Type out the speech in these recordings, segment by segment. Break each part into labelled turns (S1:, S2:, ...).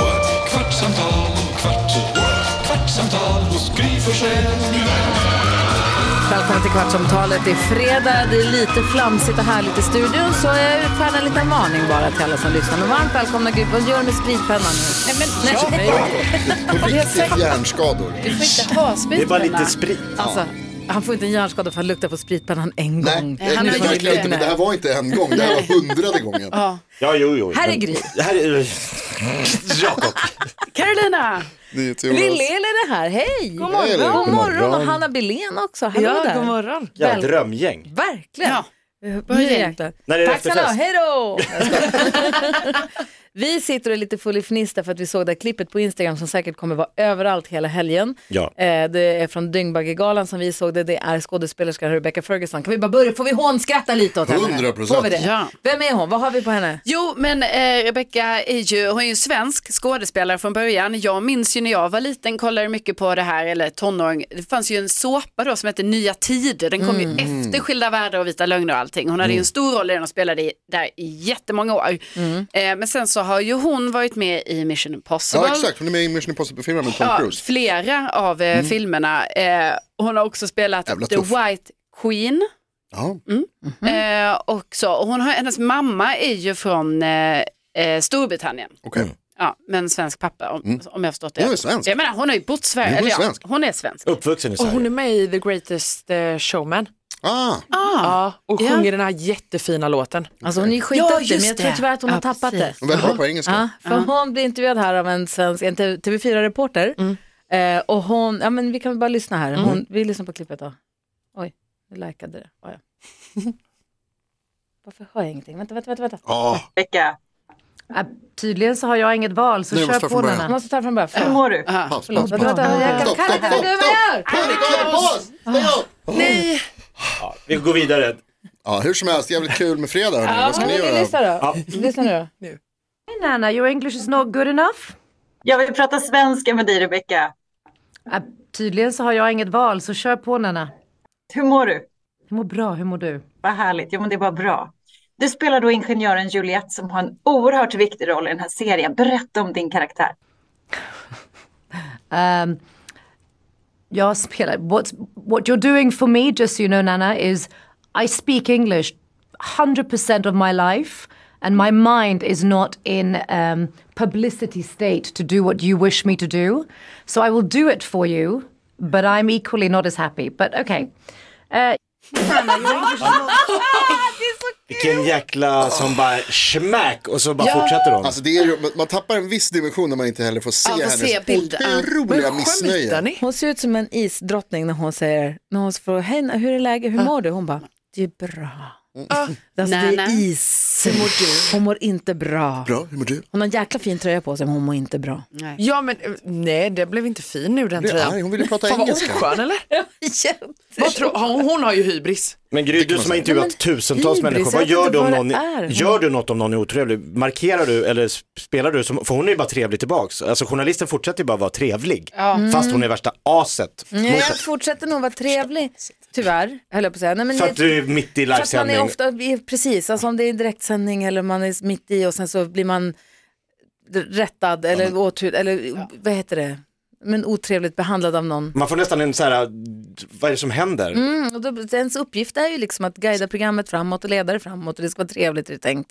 S1: what? kvartsamtal, kvart, what? kvartsamtal hos Gry Forssell med vänner.
S2: Välkommen till Kvartsamtalet. Det är fredag, det är lite flamsigt och härligt i studion så jag utfärdar en liten varning bara till alla som lyssnar. Men varmt välkomna. Gud, vad gör du med spritpennan nu? Nej, men,
S3: Riktigt hjärnskador.
S2: Du får inte ha spritpenna.
S4: Det var lite sprit.
S2: Alltså, han får inte en hjärnskada för att han luktar på spritpennan en gång.
S3: Nej,
S2: han
S3: det, det, det, inte, men det här var inte en gång, det här var hundrade gången.
S4: Ja, jo, jo.
S2: Här är
S4: Men-
S2: Gry.
S4: Det här är... Jakob.
S5: Carolina!
S2: Lille är det här. Hej! God
S3: morgon.
S2: God
S3: God
S2: morgon.
S3: morgon.
S2: Och Hanna Billén också. Hallå där.
S5: morgon.
S4: Ja,
S2: Väl-
S4: drömgäng.
S2: Verkligen.
S5: Ja.
S2: Vad är det egentligen?
S4: När är det
S2: Tack ska ni ha,
S4: efterfest?
S2: hej då! vi sitter och är lite full i fniss därför att vi såg det här klippet på Instagram som säkert kommer vara överallt hela helgen.
S4: Ja.
S2: Eh, det är från Dyngbaggegalan som vi såg det, det är skådespelerskan Rebecca Ferguson. Kan vi bara börja, får vi hånskratta lite åt henne?
S3: 100%.
S2: Får vi det?
S5: Ja.
S2: Vem är hon, vad har vi på henne?
S5: Jo, men eh, Rebecca är ju, hon är ju svensk skådespelare från början. Jag minns ju när jag var liten, kollade mycket på det här, eller tonåring. Det fanns ju en såpa då som hette Nya Tider. Den kom ju efter Skilda Världar och Vita Lögner och allting. Hon hade ju en stor roll i den och spelade i, där i jättemånga år. Eh, men sen så har ju hon varit med i Mission Impossible.
S3: Ja exakt, hon är med i Mission Impossible-filmen med Tom
S5: Ja,
S3: Cruise.
S5: flera av
S4: Mm.
S5: eh, filmerna. Eh, hon har också spelat
S3: Jävla
S5: The
S3: tuff.
S5: White Queen.
S3: Ja.
S5: Eh, också, och hon har, hennes mamma är ju från eh, eh, Storbritannien.
S3: Okej.
S5: Ja, men svensk pappa om, om jag har förstått det.
S3: Hon är svensk.
S5: Jag menar, hon har ju bott i Sverige.
S3: Hon är
S5: eller ja,
S3: svensk.
S5: Hon är svensk.
S4: Uppvuxen i
S6: Och
S4: Sverige.
S6: hon är med i The Greatest eh, Showman.
S3: Ah,
S6: Ja, och
S5: Ja.
S6: sjunger den här jättefina låten.
S2: Alltså hon är ju
S5: Ja,
S2: skitduktig
S5: just
S2: men jag tror
S5: det.
S2: tyvärr att hon har tappat det.
S3: hon är väldigt bra på engelska.
S2: Ja, för hon blir intervjuad här av en svensk, en TV4-reporter.
S3: Mm.
S2: Eh, och hon, ja men vi kan väl bara lyssna här. Hon, Vi lyssnar på klippet då. Oj, nu likade det. Ja, ja. Varför hör jag ingenting? Vänta, vänta, vänta. vänta.
S3: Ah.
S2: Tydligen så har jag inget val, så
S3: Nej, jag måste kör ta på från början.
S2: Jag
S3: Nanna.
S2: måste ta från början. Hur mår du?
S3: Paus,
S2: Förlåt,
S3: paus,
S2: vänta,
S3: paus.
S2: vänta. Jag kan,
S3: Ah, Stopp,
S2: kan,
S3: stopp,
S2: kan, kan,
S3: stopp,
S2: du
S3: Ah.
S2: vad jag gör?
S3: stopp! Paus, paus! Stäng av!
S4: Ja, vi går vidare.
S3: Ja, hur som helst, jävligt kul med fredag hörni. Vad ska ni
S2: Ja, men liksom-
S3: göra? Ah.
S2: Lyssna då. Lyssna nu då.
S7: Nana, your English is not good enough.
S8: Jag vill prata svenska med dig, Rebecka.
S7: Ah, tydligen så har jag inget val, så kör på Nana.
S8: Hur mår du?
S7: Jag mår bra, hur mår du?
S8: Vad härligt. Jo, men det är bara bra. Du spelar då ingenjören Juliette som har en oerhört viktig roll i den här serien. Berätta om din karaktär.
S7: Um, jag spelar... What's, what you're doing for me, just so you know Nana, is I speak English 100% of my life and my mind is not in um, publicity state to do what you wish me to do. So I will do it for you, but I'm equally not as happy. But okay.
S4: Vilken jäkla som bara smack och så bara fortsätter de.
S3: Alltså det är ju, man tappar en viss dimension när man inte heller får se
S5: Ja, får
S3: hennes
S5: se bilder, ja.
S3: otroliga missnöje.
S6: Skämtar ni?
S2: Hon ser ut som en isdrottning när hon säger, när hon frågar, hej, hur är läget, hur mår du? Hon bara, det är bra. Alltså, det
S5: Nana.
S2: är is. Hur mår du? Hon mår inte bra.
S3: Bra, hur mår du?
S2: Hon har en jäkla fin tröja på sig men hon mår inte bra.
S6: Ja, men eh, nej, det blev inte fin nu den
S3: Blir du arg?
S6: tröjan.
S3: Hon ville prata
S6: Fan vad
S3: engelska.
S6: oskön eller? Vad tror, hon, hon har ju hybris.
S4: Men Gry, du som har intervjuat tusentals
S2: hybris, jag
S4: människor, vad
S2: vet
S4: gör
S2: inte
S4: du om
S2: vad det är.
S4: någon, gör du något om någon är otrevlig? Markerar du eller s- spelar du som, för hon är ju bara trevlig tillbaks. Alltså journalisten fortsätter ju bara vara trevlig, fast hon är värsta aset.
S2: Nej, jag fortsätter nog vara trevlig, tyvärr, höll jag på att säga. Nej, men
S4: För att du är mitt i
S2: för att man är
S4: livesändning.
S2: ofta, precis, alltså om det är direktsändning eller man är mitt i och sen så blir man rättad eller, åthud, eller vad heter det, men otrevligt behandlad av någon.
S4: Man får nästan en så här, vad är det som händer?
S2: Mm, och då, ens uppgift är ju liksom att guida programmet framåt och leda det framåt och det ska vara trevligt är det tänkt.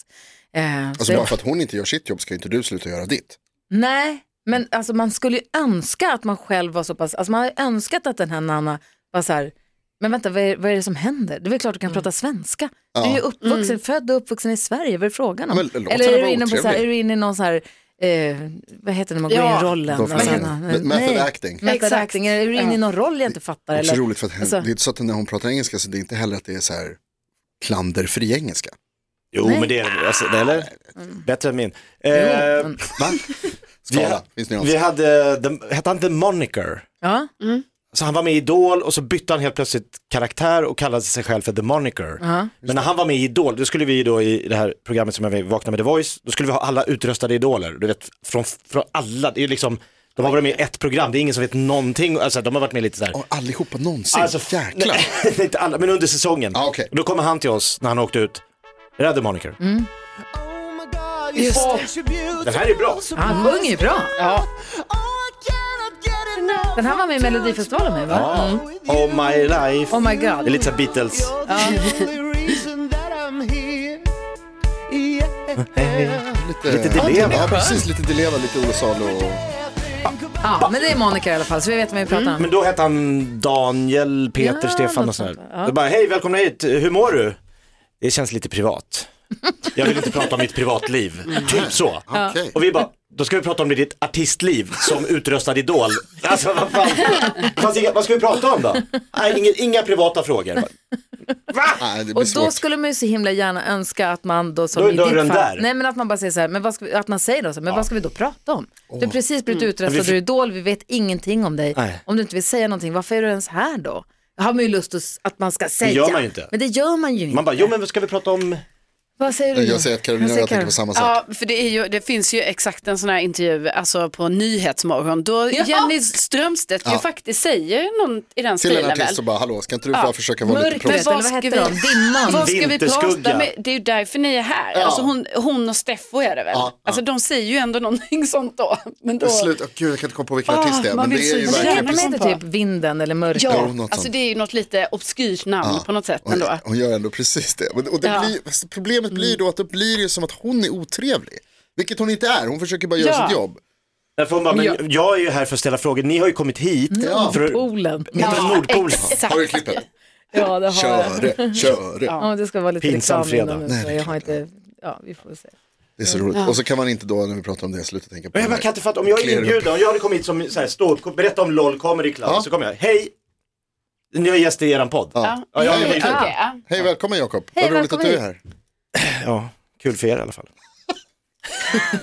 S2: Eh, så
S3: Alltså bara för att hon inte gör sitt jobb ska inte du sluta göra ditt.
S2: Nej, men alltså man skulle ju önska att man själv var så pass, alltså man har ju önskat att den här Nanna var så här, men vänta vad är, vad är det som händer? Det är väl klart du kan
S3: Mm.
S2: prata svenska. Du är ju uppvuxen, född och uppvuxen i Sverige, vad är frågan om?
S3: Men låt
S2: Eller
S3: henne
S2: är du,
S3: vara
S2: inne på så här, är
S3: otrevlig.
S2: du inne i någon så här, eh, vad heter det när man går
S6: Ja,
S2: in i rollen?
S3: Dolph
S2: Alltså, nej.
S3: Lundgren. Method acting.
S2: Method
S5: Exakt.
S2: acting, är du inne i någon roll jag inte fattar?
S3: Det är så
S2: eller?
S3: roligt för att hen-
S2: Alltså-
S3: det är inte så att när hon pratar engelska så det är inte heller att det är så här klanderfri engelska.
S2: Mm.
S4: Jo, men det är, alltså, det- eller? Bättre än min. Eh, va?
S3: Skala,
S4: ha-
S3: finns det någon?
S4: vi hade, den, hette han The Moniker?
S2: Ja.
S4: Så han var med i Idol och så bytte han helt plötsligt karaktär och kallade sig själv för The Moniker.
S2: Ja.
S4: Men när han var med i Idol, då skulle vi då i det här programmet som jag vaknade med The Voice, då skulle vi ha alla utröstade idoler. Du vet, från, från alla, det är ju liksom, de har varit med i ett program, det är ingen som vet någonting, alltså de har varit med lite sådär.
S3: Allihopa någonsin,
S4: Alltså,
S3: jäklar.
S4: Nej, inte alla, men under säsongen. Ah, Då kommer han till oss när han åkte ut, är det här The Moniker?
S2: Mm. Just
S4: Den här är bra.
S2: Ja, Han sjunger ju bra.
S4: Ja.
S2: Den här var med i Melodifestivalen med va?
S4: Ja.
S2: Mm.
S4: Oh my life.
S2: Oh my God.
S4: Det är lite såhär Beatles.
S2: Ja.
S3: Lite,
S4: Lite Di
S3: ja,
S4: Leva.
S3: precis. Lite Di Leva, lite Olle Salo. och-
S2: Ja, men det är Monica i alla fall så vi vet vad vi pratar om.
S4: Men då hette han Daniel, Peter,
S2: Ja,
S4: Stefan och
S2: något
S4: sådär.
S2: sånt, ja.
S4: Ja. bara, hej välkomna hit, hur mår du? Det känns lite privat. Jag vill inte prata om mitt privatliv, typ så.
S3: Mm. Ja. Okej.
S4: Och vi bara, då ska vi prata om ditt artistliv som utröstad idol. Alltså vad fan, Fanns inga, vad ska vi prata om då? Nej, inga, inga privata frågor.
S3: Nej, det blir
S2: Och då
S3: svårt.
S2: skulle man ju så himla gärna önska att man då som
S4: Då är
S2: i ditt
S4: dörren
S2: fall,
S4: där.
S2: nej men att man bara säger så här, men vad ska vi, att man säger då så, här, men vad ska vi då prata om? Du har precis blivit utröstad
S4: Men
S2: ur
S4: Mm. vi-
S2: Idol, vi vet ingenting om dig.
S4: Nej.
S2: Om du inte vill säga någonting, varför är du ens här då? Jag har man ju lust att, s- att man ska säga.
S4: gör man ju inte.
S2: Men det gör man ju inte.
S4: Man bara, jo men vad ska vi prata om?
S2: Vad säger du?
S3: Jag
S2: Johan?
S3: säger att Carolina
S2: Vad
S3: och
S2: säger
S3: jag tänker
S2: Karo?
S3: på samma sak.
S5: Ja, för det, är ju, det finns ju exakt en sån här intervju alltså på Nyhetsmorgon då Jenny Strömstedt ju
S3: Ja.
S5: faktiskt säger någon i den
S3: Till en
S5: stilen
S3: artist
S5: väl.
S3: och bara, hallå, ska inte du
S5: Ja.
S3: bara försöka vara lite
S2: Mörkret,
S3: proffs?
S2: eller vad hette de? Dimman?
S5: Vad ska vi prata
S4: Vinterskugga.
S5: med? Det är ju därför ni är här.
S3: Ja.
S5: Alltså hon, hon och Steffo är det väl?
S3: Ja, ja.
S5: Alltså de säger ju ändå någonting sånt då. Men då...
S3: Slut, Åh, gud jag kan inte komma på vilken
S5: Ah,
S3: artist det är,
S5: man
S3: men
S5: vill
S3: det är ju
S5: så
S3: verkligen
S5: gärna-
S2: De
S3: precis.
S2: heter typ Vinden eller Mörkret.
S5: Ja,
S3: Jo, något
S5: alltså
S3: sånt.
S5: det är ju något lite obskyrt namn
S3: Ja.
S5: på något sätt
S3: Hon,
S5: ändå.
S3: hon gör ändå precis det. Men- Och det
S5: Ja.
S3: blir, problemet
S2: Mm.
S3: blir då att det blir ju som att hon är otrevlig. Vilket hon inte är, hon försöker bara göra
S5: Ja.
S3: sitt jobb.
S4: Därför hon bara,
S2: Ja.
S4: men jag är ju här för att ställa frågor, ni har ju kommit hit.
S3: Ja.
S4: För att,
S2: Polen.
S4: ja, Nordpolen.
S3: Har du klippet?
S2: Ja, det har jag.
S3: Köre, köre.
S2: Ja, det ska vara lite
S4: Pinsam
S2: reklam innan
S4: fredag.
S2: nu,
S3: Nej,
S2: så
S3: det är
S2: jag har inte, ja vi får se.
S3: Det är så roligt. Och så kan man inte då när vi pratar om det sluta tänka på
S4: Men jag bara
S3: det
S4: kan inte fatta, om jag är
S3: Clear
S4: inbjuden, om jag hade kommit som så här, stå upp, berätta om LOL Comedy Club,
S3: Ja.
S4: så kommer jag, hej, nu är jag gäst i eran podd.
S3: Ja.
S4: Ja, ja, det var
S5: Okej,
S4: kul.
S5: ja.
S3: Hej, välkommen Jakob.
S2: Hej,
S3: Vad roligt att
S2: välkommen
S3: du är
S2: hit.
S3: här.
S4: Ja, kul för er i alla fall.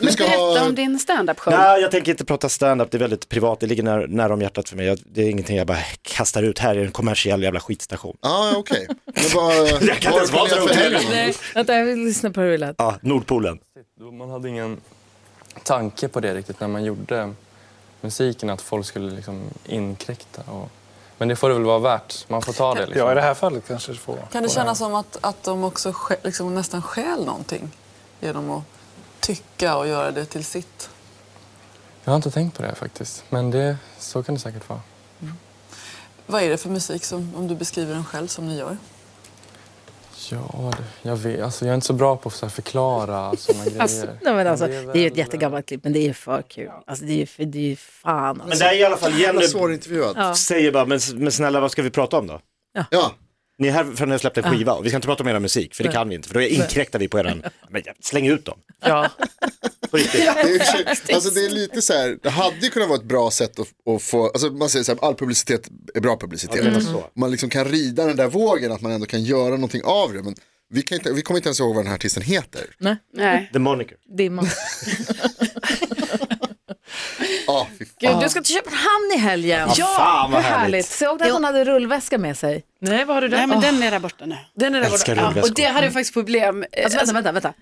S3: Du ska
S5: Berätta
S3: ha...
S5: om din standup-show.
S4: Nej, jag tänker inte prata stand-up, det är väldigt privat, det ligger nära, nära om hjärtat för mig. Jag, det är ingenting jag bara kastar ut här i en kommersiell jävla skitstation.
S3: Ja, okej. Men vad...
S4: Jag kan inte ens vara så rolig.
S2: Vänta, jag vill lyssna på hur det lät.
S4: Ja, Nordpolen.
S9: Man hade ingen tanke på det riktigt när man gjorde musiken, att folk skulle liksom inkräkta. Och... Men det får det väl vara värt. Man får ta det. Liksom.
S10: Ja, i det här fallet kanske det får.
S11: Kan det kännas som att, att de också skä- liksom nästan stjäl någonting genom att tycka och göra det till sitt?
S9: Jag har inte tänkt på det här faktiskt, men det, så kan det säkert vara.
S11: Mm. Vad är det för musik, som, om du beskriver den själv, som ni gör?
S9: Ja, det, jag vet. Alltså, jag är inte så bra på att så här förklara sådana grejer.
S2: Alltså, nej men alltså,
S9: Det är
S2: det är ju ett jättegammalt klipp, men det är ju för kul. Alltså det är ju för, det är ju fan
S4: Men
S2: alltså.
S4: där är i alla fall Jenny
S3: Svårintervjuad.
S2: Ja.
S4: säger bara, men, men snälla vad ska vi prata om då?
S3: Ja,
S4: Ni är här för att ni har släppt en skiva och vi ska inte prata om era musik, för det kan vi inte, för då inkräktar vi på eran, men släng ut dem.
S6: Ja.
S4: På riktigt.
S3: det är, i och för sig- alltså det är lite så här, det hade ju kunnat vara ett bra sätt att, att få, alltså man säger så här, all publicitet är bra
S4: Ja,
S3: publicitet.
S4: det var så.
S3: Man liksom kan rida den där vågen, att man ändå kan göra någonting av det. Men vi, kan inte, vi kommer inte ens ihåg vad den här artisten heter.
S5: Nej.
S4: The Moniker.
S2: Dimman.
S3: Ja, Ah, fy fan.
S2: Gud, du ska till Köpenhamn i helgen.
S4: Ja, fan, vad härligt.
S2: Såg du att hon hade rullväska med sig?
S6: Nej, vad har du där?
S5: Nej, men
S6: Åh,
S5: den är där borta nu.
S6: den är där
S4: Älskar
S6: borta.
S4: rullväskor.
S5: Och det hade jag faktiskt problem. eh,
S2: Alltså vänta, vänta, vänta.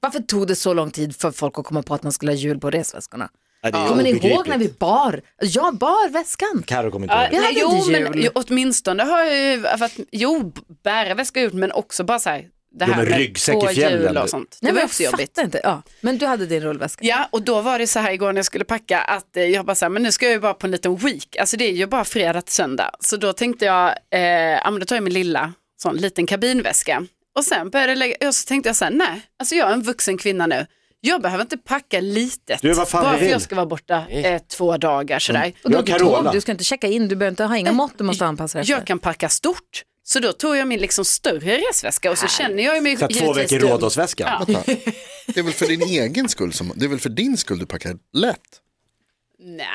S2: Varför tog det så lång tid för folk att komma på att man skulle ha hjul på resväskorna?
S4: Ja, det är
S2: Kommer ni ihåg
S4: obegripligt.
S2: när vi bar? Jag bar väskan.
S4: Karo kommer inte
S5: Ja,
S4: ihåg.
S2: Jag
S5: nej,
S2: hade
S5: jo,
S2: inte
S5: men
S2: jul.
S5: jo, åtminstone har jag ju, varit, jo, bära väska ut, men också bara så här, det
S4: Jo,
S5: här
S4: men
S5: med
S4: ryggsäck i
S5: två
S4: fjällen,
S5: hjul
S4: du.
S5: och sånt. Det
S2: Nej, men
S5: var
S2: jag
S5: också jobbigt.
S2: fattar inte. Ja, men du hade din rullväska.
S5: Ja, och då var det så här igår när jag skulle packa att eh, jag bara så här, men nu ska jag ju bara på en liten week, alltså det är ju bara fredag till söndag. Så då tänkte jag, eh, ja men då tar jag min lilla, sån liten kabinväska. Och sen började jag lägga, och så tänkte jag så här, nej, alltså jag är en vuxen kvinna nu. Jag behöver inte packa litet,
S4: Du, vad fan
S5: bara
S4: vi
S5: för
S4: vill.
S5: jag ska vara borta eh, två dagar sådär.
S2: Och då
S4: Mm. Jag
S2: du
S4: Carola.
S2: tog, du ska inte checka in, du behöver inte ha inga mått du måste anpassa dig
S5: jag kan packa stort. Så då tog jag min liksom större resväska och så känner jag ju mig
S4: Så här, två veckor
S5: givetvis dum.
S4: Rhodosväska.
S5: Ja. alltså,
S3: Det är väl för din egen skull som, det är väl för din skull du packar lätt.
S5: Nej,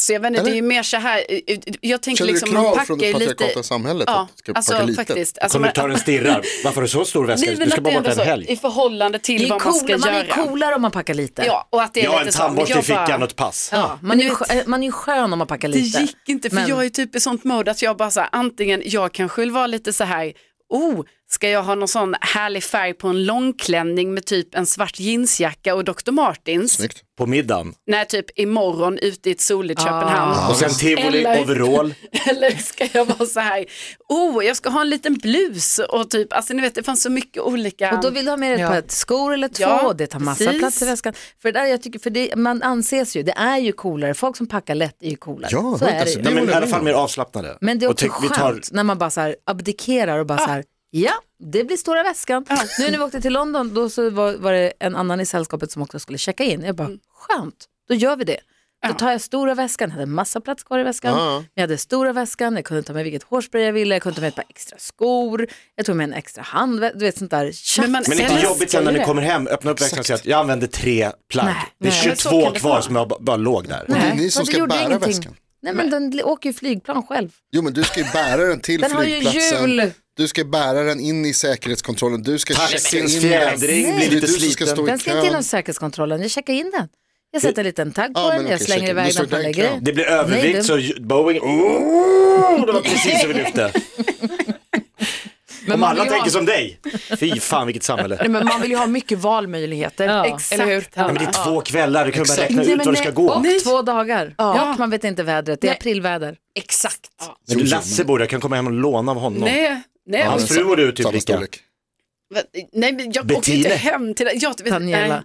S5: så jag vet inte, det är ju mer så här, eh, eh, jag tänker
S3: Känner
S5: liksom
S3: du krav
S5: man packar
S3: från det
S5: ju
S3: patriarkata
S5: lite.
S3: samhället?
S5: Ja,
S3: att du ska
S5: alltså,
S3: packa litet?
S5: faktiskt. Alltså, man-
S4: Konduktören stirrar. Varför har du så stor väska?
S5: Nej, men
S4: Du ska
S5: att
S4: bara
S5: det
S4: bort
S5: ändå
S4: en
S5: så,
S4: helg.
S5: I förhållande till vad man ska
S2: coolare, man
S5: göra.
S2: är coolare om man packar lite.
S5: Ja, och att det är
S4: Jag har en
S5: lite så, men
S4: tandborste i
S5: jag bara-
S4: fickan och ett pass.
S2: Ja, man, är ju, skö- man är ju skön om man packar
S5: Det
S2: lite.
S5: gick inte för
S2: Men-
S5: jag är typ i sånt mode att jag bara så här, antingen jag kanske vill vara lite så här, oh, ska jag ha någon sån härlig färg på en långklänning med typ en svart jeansjacka och Dr. Martins?
S4: På middagen.
S5: Nej, typ imorgon ute i ett soligt
S4: Ah.
S5: Köpenhamn.
S4: Och sen tivoli, overall.
S5: Eller ska jag vara så här, oh, jag ska ha en liten blus och typ, alltså ni vet det fanns så mycket olika.
S2: Och då vill du ha med dig ett par skor eller två,
S5: Ja,
S2: det tar massa
S5: precis.
S2: plats i väskan. För, det där, jag tycker, för det, man anses ju, det är ju coolare, folk som packar lätt är ju coolare. så är det ju.
S4: Nej, men I alla fall mer avslappnade.
S2: Men det är
S4: Och
S2: också
S4: tyck- vi
S2: skönt
S4: tar-
S2: när man bara så här abdikerar och bara så här, ja, det blir stora väskan. Nu när vi åkte till London, då så var, var det en annan i sällskapet som också skulle checka in. Jag bara, skönt, då gör vi det. Då tar jag stora väskan, hade massa plats kvar i väskan.
S5: Ja.
S2: Men jag hade stora väskan, jag kunde ta med vilket hårspray jag ville, jag kunde ta med ett par extra skor, jag tog med en extra handväska, du vet sånt där tjafs.
S4: Men det är inte jobbigt sen när ni kommer hem, öppna upp väskan och säga att jag använder tre plagg.
S2: Nej,
S4: det är
S2: nej. Men så
S4: 22
S2: kan det
S4: kvar
S2: vara.
S4: som jag ba- bara låg där.
S2: Nej, men det gjorde ingenting. Nej men den åker ju flygplan själv.
S3: Jo men du ska ju bära den till
S2: Den har ju
S3: flygplatsen.
S2: hjul.
S3: Du ska bära den in i säkerhetskontrollen. Du ska
S4: Taxins
S3: checka in
S4: fjädring
S3: den.
S4: blir
S3: Det är
S4: lite
S3: du som ska
S4: sliten.
S3: stå i
S2: Den ska inte
S3: kön.
S2: genom säkerhetskontrollen, jag checkar in den. Jag sätter en liten tagg på
S3: Ja,
S2: den,
S3: men
S2: jag
S3: okej,
S2: slänger
S3: checkar.
S2: iväg
S3: Då
S2: den på
S3: står den
S2: lägger.
S4: Det blir övervikt så ju- Boeing, oh, det var precis som vi lyfte. Om
S6: man
S4: alla
S6: vill ju
S4: tänker
S6: ha-
S4: som dig, fy fan vilket samhälle.
S6: Nej, men man vill ju ha mycket valmöjligheter.
S2: Ja.
S6: Eller hur?
S2: Exakt, Hanna.
S4: Nej, men det är två kvällar, du kan ju bara
S6: Exakt.
S4: räkna
S6: Nej,
S4: ut
S6: men
S4: var du ska gå.
S2: Och två dagar.
S6: Ja.
S2: Och man vet inte vädret, det är aprilväder.
S5: Exakt.
S4: Men du, Lasse borde, jag kan komma hem och låna av honom.
S5: Nej, nej.
S4: Ja, Hans fru och du är typ
S3: Samma
S4: lika.
S5: Nej, men jag åker
S4: Bettina.
S5: inte hem till jag, vet,
S2: Daniela.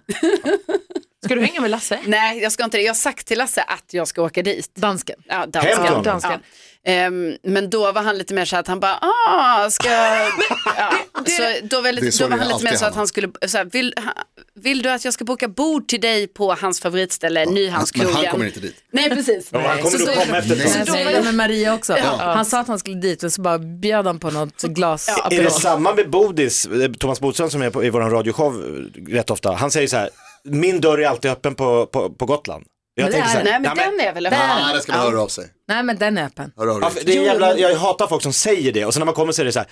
S5: Ska du hänga med Lasse? Nej, jag ska inte det. Jag har sagt till Lasse att jag ska åka dit.
S2: Dansken?
S5: Ja, dansken.
S2: Hem till honom.
S5: Ja,
S2: Dansken.
S5: Ehm, men då var han lite mer så här att han bara, ah, ska... jag-" ja. så då var,
S3: Det
S5: lite,
S3: är så
S5: då var
S3: det
S5: han lite
S3: alltid
S5: mer så att
S3: hamnar.
S5: han skulle, så här, vill, ha- vill du att jag ska boka bord till dig på hans favoritställe, Nyhamnskrogen?
S3: Men han kommer inte dit.
S5: Nej, precis.
S3: Ja, han kommer
S5: Så
S3: nog
S5: då-
S3: komma efter ett tag.
S2: Jag säger det med Maria också.
S5: Ja.
S2: Han sa att han skulle dit och så bara bjöd han på något glas
S4: Är
S2: Aperol.
S4: det samma med Bodis, eh, Thomas Bodström som är på, i vår radioshow eh, rätt ofta, han säger så här, min dörr är alltid öppen på, på, på Gotland. Jag
S2: Men det
S4: tänker
S2: är-
S4: så här,
S2: nej, men den är väl öppen?
S3: Nej, det ska man höra av sig.
S2: Nej men den är öppen.
S3: Hör av
S4: Ja,
S3: dig.
S4: för det är jävla, jag hatar folk som säger det och sen när man kommer så är det så här,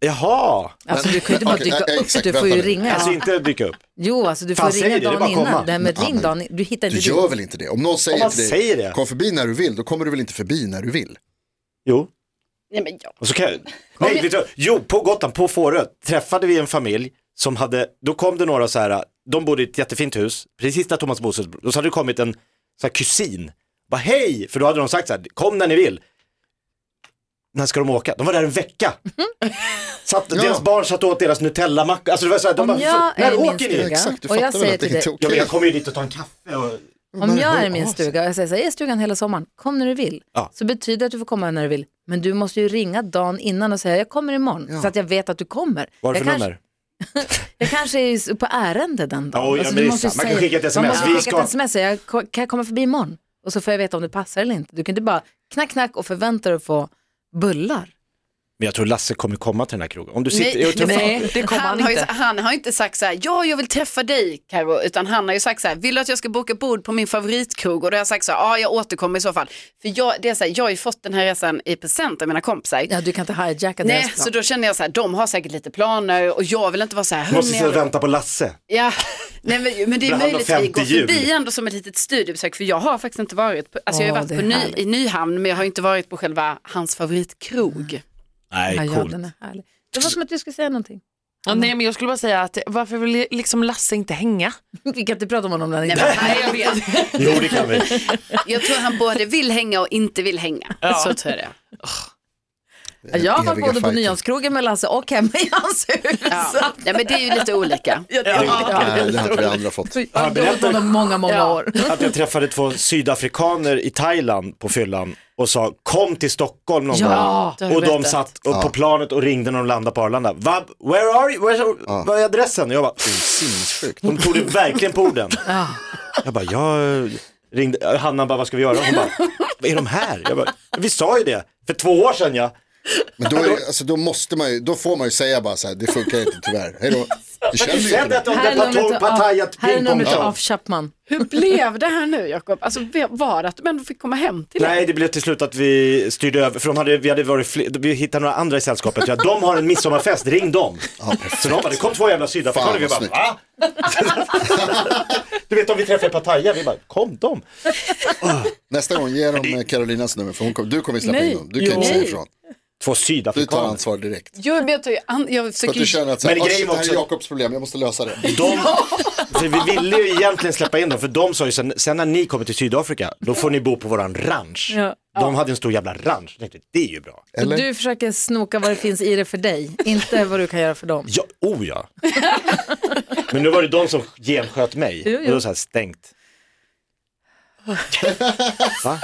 S4: jaha.
S2: Alltså, du kan ju inte bara dyka upp, du får ju ringa.
S4: Alltså inte dyka upp.
S2: Jo alltså du
S4: Fan,
S2: får
S4: säg
S2: ringa
S4: det, det är
S2: dagen
S4: bara att komma.
S2: innan. Nej, men
S3: Ja,
S2: ring
S3: men-
S2: dagen Du hittar
S3: Du
S2: inte
S3: gör väl inte det? Om någon säger
S4: man
S3: till dig,
S4: säger det.
S3: kom förbi när du vill, då kommer du väl inte förbi när du vill?
S4: Jo.
S5: Nej, men jag...
S4: Och så kan jag, nej, vet du, vad? jo, på Gotland, på Fårö, träffade vi en familj som hade, då kom det några så här, de bodde i ett jättefint hus, precis där Thomas Bodström, och så hade det kommit en så här, kusin, bara hej, för då hade de sagt så här, kom när ni vill. När ska de åka? De var där en vecka. Satt, Deras barn satt och åt deras Nutella-macka, alltså det var så här, de
S2: Om
S4: bara,
S2: jag
S4: när
S2: är i min
S4: åker ni?
S2: stuga Exakt, du och jag fattar väl säger att det till inte är dig- okej.
S4: Ja, men jag kommer ju dit och tar en kaffe och...
S2: Om jag är i min stuga och jag säger så här, jag är i stugan hela sommaren, kom när du vill.
S4: Ja.
S2: Så betyder det att du får komma när du vill. Men du måste ju ringa dagen innan och säga, jag kommer imorgon. Så att jag vet att du kommer.
S4: Vad är det
S2: jag
S4: för
S2: kanske,
S4: nummer?
S2: jag kanske är på ärende den dagen. Alltså,
S4: Ja, oj, ja, men
S2: du
S4: det är
S2: måste ju
S4: sant. Man kan skicka ett
S2: Man
S4: sms.
S2: måste
S4: Vi
S2: skicka
S4: ska-
S2: ett sms, säga, jag ko- kan jag komma förbi imorgon? Och så får jag veta om det passar eller inte. Du kan inte bara knack, knack och förvänta dig att få bullar.
S4: Men jag tror Lasse kommer komma till den här krogen. Om du sitter, jag tror fan-
S5: han Har ju, han har inte sagt så här, ja jag vill träffa dig Karo, utan han har ju sagt så här, vill du att jag ska boka bord på min favoritkrog? Och då har jag sagt så här, ja jag återkommer i så fall. För jag, det är så här, jag har ju fått den här resan i present av mina kompisar.
S2: Ja, du kan inte hijacka deras
S5: Nej,
S2: plan.
S4: alltså,
S5: så då känner jag så här, de har säkert lite planer och jag vill inte vara så här,
S4: Du måste sitta
S5: "Hörni,
S4: och vänta på Lasse.
S5: Ja, nej, men, men det är
S4: Bland annat
S5: möjligt att vi
S4: 50
S5: går förbi
S4: jul.
S5: ändå som ett litet studiebesök för jag har faktiskt inte varit på, alltså jag har
S2: Åh,
S5: varit
S2: det
S5: på
S2: är
S5: ny,
S2: härligt.
S5: i Nyhamn men jag har inte varit på själva hans favoritkrog.
S4: Nej,
S2: ja, ja, den är härlig. Det var som att du skulle säga någonting.
S6: Ja, nej, men jag skulle bara säga att varför vill liksom Lasse inte hänga?
S2: Vi kan inte prata om honom. Nej,
S5: nej, jag vet.
S4: Jo, det kan vi.
S5: Jag tror han både vill hänga och inte vill hänga. Så tror jag det.
S2: Ja, Jag har varit
S5: Eviga
S2: både på
S5: fighten.
S2: Nyhamnskrogen med Lasse och hemma i hans hus.
S5: Ja. Nej, men det är ju lite olika.
S2: Ja, det
S3: Nej, det har inte vi andra fått.
S4: Har jag berättat
S2: många, många år.
S4: att jag träffade två sydafrikaner i Thailand på fyllan och sa kom till Stockholm någon
S2: Ja, det har
S4: gång.
S2: du
S4: Och de
S2: berättat.
S4: satt upp på
S2: Ja.
S4: planet och ringde när de landade på Arlanda. Va, where are you? Where, Vad är adressen? Och jag bara, sinnessjukt. De tog det verkligen på orden.
S2: Ja.
S4: Jag bara, jag ringde, Hanna bara, vad ska vi göra? Hon bara, "Vad är de här? Jag bara, vi sa ju det, för två år sedan ja.
S3: Men då, är, alltså, då måste man ju, då får man ju säga bara så här, det funkar inte tyvärr, hej då.
S4: Du kände att du hade Patong Pattaya
S2: Här är numret till
S4: pingpong.
S2: Af Chapman.
S5: Hur blev det här nu Jakob? Alltså ve- var det att du ändå fick komma hem till
S4: Nej, det blev till slut att vi styrde över, för de hade, vi hade varit fler, vi hittade några andra i sällskapet, ja, de har en midsommarfest, ring dem. så de bara, det kom två jävla sydafrikaner,
S3: Fan,
S4: vi
S3: vad
S4: bara, va? du vet om vi träffar Pattaya, vi bara, kom dem.
S3: Nästa gång ge dem eh, Carolinas nummer för hon kom, du kommer ju släppa
S5: Nej.
S3: in dem. Du kan ju inte
S5: Jo.
S3: säga ifrån.
S4: Två
S3: Du tar
S4: sydafrikaner.
S3: ansvar direkt.
S5: Jo, men jag, tar ju an- jag
S3: Så
S5: försöker
S3: att du känner att så här,
S4: Men
S3: "Ah,
S4: grejen
S3: shit,
S4: var
S3: det här är
S4: också-
S3: Jakobs problem, jag måste lösa det.
S4: De, för vi ville ju egentligen släppa in dem, för de sa ju sen, sen när ni kommer till Sydafrika, då får ni bo på våran ranch.
S2: Ja.
S4: De hade en stor jävla ranch, jag tänkte, det är ju bra.
S2: Så Du försöker snoka vad det finns i det för dig, inte vad du kan göra för dem.
S4: Ja, oh ja. Men nu var det de som gensköt mig.
S2: Jo, jo.
S4: Jo, jo. Och då så här stängt. Va?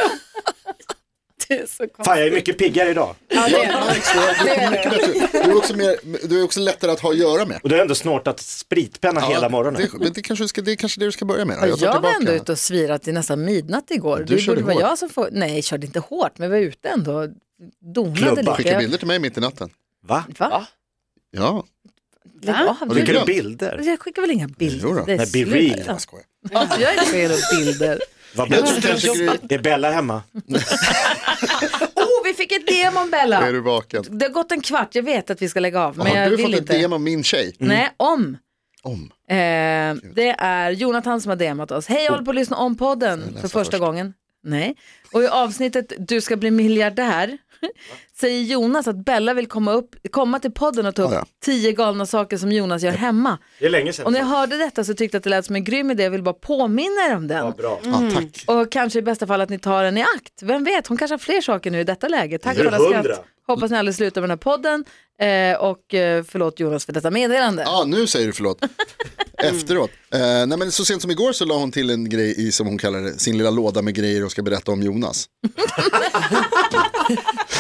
S5: Det är så konstigt.
S4: Fan, jag är mycket piggare idag.
S5: Ja, det är
S3: Alex, du är- du är mycket bättre. Du är också mer- du är också lättare att ha att göra med.
S4: Och du har ändå snortat spritpenna
S3: Ja,
S4: hela morgonen.
S3: Det, men det, kanske du ska, det är kanske det du ska börja med.
S2: Jag,
S3: tar
S2: jag var
S3: tillbaka.
S2: ändå ute och svirat till nästan midnatt igår.
S3: Du
S2: det
S3: körde
S2: borde vara
S3: hårt.
S2: jag som får... Nej, jag körde inte hårt, men jag var ute ändå. och Donade
S3: Klubba.
S2: lite.
S3: Skicka
S2: Jag...
S3: bilder till mig mitt i natten.
S4: Va?
S2: Va?
S3: Ja.
S2: Lägg av.
S3: Har du
S2: Jag-
S3: glömt?
S4: Bilder?
S2: Jag skickar väl inga
S3: Jo då.
S2: bilder?
S3: Nej, be
S2: Sluta.
S3: real. Jag
S2: Jag är fel och bilder.
S4: Vad
S3: Jag
S4: bra.
S3: tycker- jag tycker-
S4: Är Bella hemma?
S2: Oh, vi fick ett DM om Bella.
S3: Är du vaken?
S2: Det har gått en kvart, jag vet att vi ska lägga av, men
S3: har
S2: jag
S3: du
S2: vill
S3: fått
S2: inte.
S3: ett DM Mm. av min tjej?
S2: Nej, om.
S3: Om.
S2: Eh, det är Jonathan som har DMat oss. Hej, jag håller på att lyssna om podden för första gången. Nej. Och i avsnittet Du ska bli miljardär säger Jonas att Bella vill komma, upp, komma till podden och ta upp
S4: Ja, ja.
S2: tio galna saker som Jonas gör hemma.
S4: Det är länge sedan.
S2: Och när jag hörde detta så tyckte jag att det lät som en grym idé och vill bara påminna er om den.
S4: Ja, bra.
S2: Mm.
S3: Ja, tack.
S2: Och kanske i bästa fall att ni tar den i akt. Vem vet, hon kanske har fler saker nu i detta läge. Tack för
S3: Eller
S2: alla
S3: hundra.
S2: skratt. Hoppas ni aldrig slutar med den här podden. Eh, och eh, förlåt Jonas för detta meddelande.
S3: Ja, nu säger du förlåt. Efteråt. Eh, nej, men så sent som igår så la hon till en grej i, som hon kallar det, sin lilla låda med grejer och ska berätta om Jonas.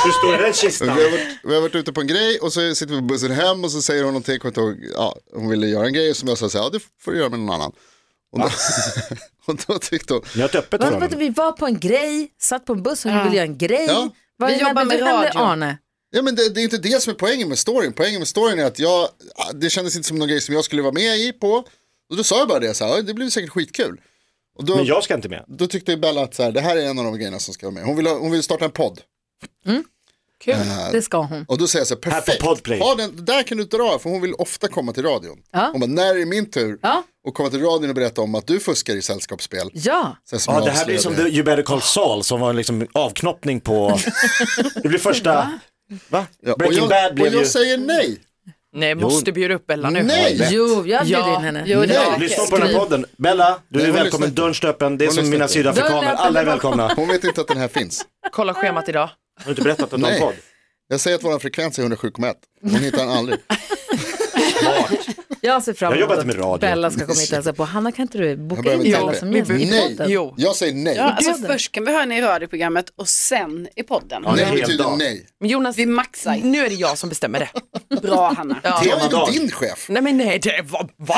S4: Hur står det i den
S3: Vi
S4: kistan?
S3: har, varit, vi har varit ute på en grej och så sitter vi på bussen hem och så säger hon någonting, jag kommer inte ihåg, ja, hon ville göra en grej som jag sa så här, ja det får du göra med någon annan. Och då, och då tyckte hon...
S4: Ni har ett öppet
S2: Varför inte vi var på en grej, satt på en buss och
S3: Ja.
S2: ville göra en grej.
S3: Ja.
S2: Vad
S5: Vi
S2: är det
S5: jobbar
S2: du
S5: med
S2: händer,
S5: radio.
S2: Arne?
S3: Ja men det, det är inte det som är poängen med storyn. Poängen med storyn är att jag, det kändes inte som någon grej som jag skulle vara med i på. Och då sa jag bara det, så här, "Ja, det blir säkert skitkul. Och då,
S4: Men jag ska inte med.
S3: Då tyckte ju Bella att så här, det här är en av de grejerna som ska vara med. Hon vill, ha- hon vill starta en podd.
S2: Kul,
S3: Eh,
S2: det ska hon.
S3: Och då säger jag så här, perfekt, ha den, där kan du dra, för hon vill ofta komma till radion.
S2: Ja.
S3: Hon bara, när är det min tur? Och komma till radion och berätta om att du fuskar i sällskapsspel.
S2: Ja.
S3: Sen som
S4: Ja,
S3: jag
S4: det här blir som
S3: avslöjade-
S4: The You Better Call Saul som var en liksom avknoppning på... Det blir första... Va?
S3: och
S4: Breaking
S3: jag,
S4: Bad blev
S3: och jag
S4: ju...
S3: säger nej.
S6: Nej,
S4: Jo.
S6: måste bjuda upp Bella nu.
S4: Nej! Jo,
S2: jag bjuder
S6: Ja.
S2: in henne.
S6: Jo, det var-
S4: Lyssna på den här podden. Bella, du
S3: Nej, hon
S4: är
S3: lyssnar
S4: välkommen.
S3: inte.
S4: Dörren står öppen. Det är
S3: Hon
S4: som
S3: lyssnar
S4: mina
S3: inte.
S4: sydafrikaner. Alla är välkomna.
S3: Hon vet inte att den här finns.
S6: Kolla schemat idag.
S4: Har du inte berättat att du har en
S3: Nej.
S4: podd?
S3: Jag säger att vår frekvens är 107,1. Hon hittar den aldrig.
S2: Jag ser fram
S3: Jag
S2: emot
S3: jobbar
S2: att
S3: inte med radio.
S2: Bella ska komma hit och hälsa på. Hanna, kan inte du
S3: Jag
S2: boka
S3: börjar
S2: in
S3: med
S2: Bella
S3: Täby.
S2: som gäst i podden?
S3: Jag säger nej.
S5: Ja, alltså, först kan vi höra henne i radioprogrammet och sen i podden.
S3: Ja, det Nej, är betyder helt dag. nej.
S6: Men Jonas,
S5: vi maxar.
S6: Nu är det jag som bestämmer det.
S5: Bra Hanna.
S6: Ja.
S3: Jag är ju din chef.
S6: Nej men nej, det var... Va?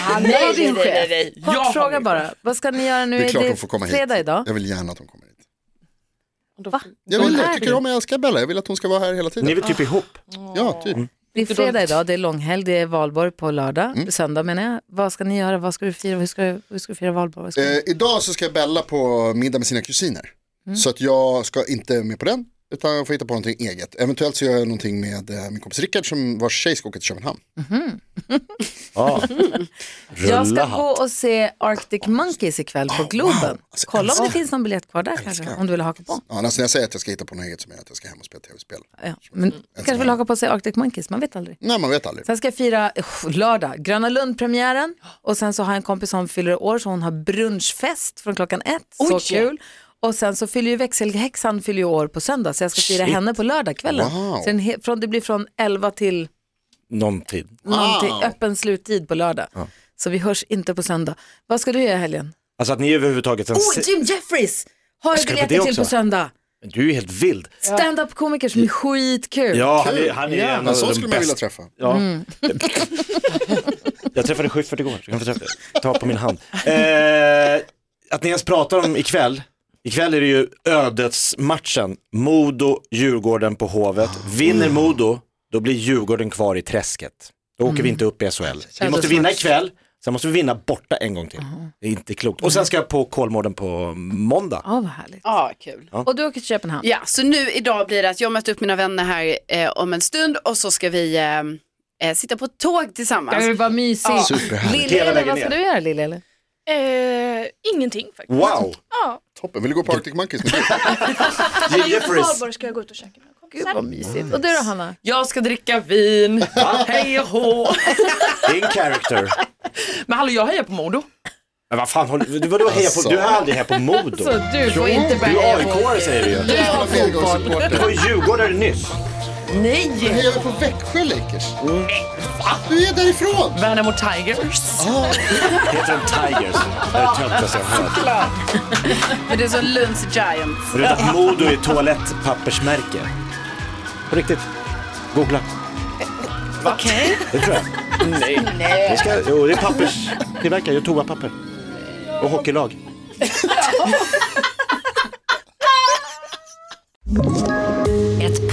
S2: Han
S6: Nej,
S2: är din
S6: nej, nej,
S2: chef.
S6: nej. Jag
S2: Kort
S6: har
S2: fråga
S6: min
S2: bara. Vad ska ni göra nu?
S3: det är klart
S2: det
S3: hon får komma
S2: fredag
S3: hit.
S2: idag?
S3: Jag vill gärna att hon kommer hit.
S2: Va?
S3: Jag, vill,
S2: Hon
S3: jag
S2: är
S3: tycker
S2: det.
S3: om och älskar Bella. Jag vill att hon ska vara här hela tiden.
S4: Ni är väl typ ihop?
S3: Ja, typ.
S2: Det är fredag idag, det är långhelg, det är valborg på lördag,
S3: Mm.
S2: söndag menar jag. Vad ska ni göra, vad ska du fira, hur ska du, hur ska du fira valborg? Vad ska du-
S3: Eh, idag så ska Bella på middag med sina kusiner.
S2: Mm.
S3: Så att jag ska inte med på den. Utan jag får hitta på någonting eget. Eventuellt så gör jag någonting med eh, min kompis Rickard som vars tjej ska åka till Köpenhamn.
S2: Mm. Jag ska gå och se Arctic Monkeys ikväll på Globen. Kolla om det
S3: Oh, Alltså, älskar-
S2: finns någon biljett kvar där kanske, om du vill haka på.
S3: Ja, men alltså när jag säger att jag ska hitta på något eget så menar jag att jag ska hem och spela tv-spel.
S2: Ja. Men du kanske vill haka på och se Arctic Monkeys, man vet aldrig.
S3: Nej, man vet aldrig.
S2: Sen ska jag fira eh, lördag, Gröna Lund-premiären och sen så har jag en kompis som fyller år så hon har brunchfest från klockan ett, så
S5: Oj.
S2: kul. Och sen så fyller ju växelhäxan fyller ju år på söndag så jag ska fira
S4: Shit.
S2: henne på lördagskvällen.
S4: Wow.
S2: Så en he- från, det blir från 11 till
S4: Någon tid.
S2: någonting, öppen sluttid på lördag. Så vi hörs inte på söndag. Vad ska du göra i helgen?
S4: Alltså att ni överhuvudtaget ens...
S2: Oh, Jim Jeffries har jag
S4: Ska du på det
S2: biljetter till
S4: också?
S2: på söndag.
S4: Du är ju helt vild.
S2: Stand-up-komiker som är skitkul.
S4: Ja, han är, han är en av
S3: sån
S4: de
S3: skulle man
S4: bästa.
S3: vilja träffa.
S4: Ja.
S2: Mm.
S4: Jag träffade Schyffert igår, så kan jag få träffa- ta på min hand. Eh, att ni ens pratar om ikväll, ikväll är det ju ödesmatchen,
S2: Mm.
S4: Modo-Djurgården på Hovet. Vinner Modo, då blir Djurgården kvar i träsket. Då åker vi inte upp i SHL.
S2: Ja,
S4: Vi måste
S2: Mm. det är
S4: vinna
S2: smart.
S4: ikväll, sen måste vi vinna borta en gång till. Det är inte klokt. Och sen ska jag på Kolmården på måndag.
S2: Ja, vad härligt.
S5: Ja, kul.
S4: Ja.
S2: du åker till Köpenhamn?
S5: Ja, så nu idag blir det att jag möter upp mina vänner här eh, om en stund och så ska vi eh, eh, sitta på ett tåg tillsammans.
S2: Det var
S5: Ja.
S2: mysigt. Alltså, Lille, eller vad ska du göra Lille? Eller?
S10: Eh, ingenting faktiskt.
S4: Wow.
S10: Ja.
S3: Toppen, vill du gå på Arctic Monkeys med dig?
S10: Här i
S3: Jeffries.
S10: Valborg ska jag gå ut och käka med kompisar. Gud vad mysigt.
S2: Och du då Hanna?
S6: Jag ska dricka vin. Hej och hå.
S4: In character.
S6: Men hallå, jag hejar på Modo.
S4: Men vad fan, håller- du, vadå heja på,
S6: Alltså.
S4: du har aldrig hejat på Modo.
S6: Så du får
S4: Jo,
S6: inte börja
S4: Du är
S6: heja på-
S4: AIK-are säger du ju.
S6: Du har fotboll.
S4: Du var ju djurgårdare nyss.
S6: Nej! Du
S2: Mm.
S3: hejar på Växjö Lakers. Du är därifrån!
S6: Värnamo Tigers.
S4: Heter de Tigers? Det är det töntigaste jag har hört.
S5: Klart. Men det är så Lunds Giants.
S4: Och Du vet att Modo är toalettpappersmärke? På riktigt. Googla.
S5: Okej.
S4: Det tror jag.
S5: Nej. Nej.
S4: Det, ska, jo, det är pappers. Tillverkare, gör toapapper. Och hockeylag.
S12: Ett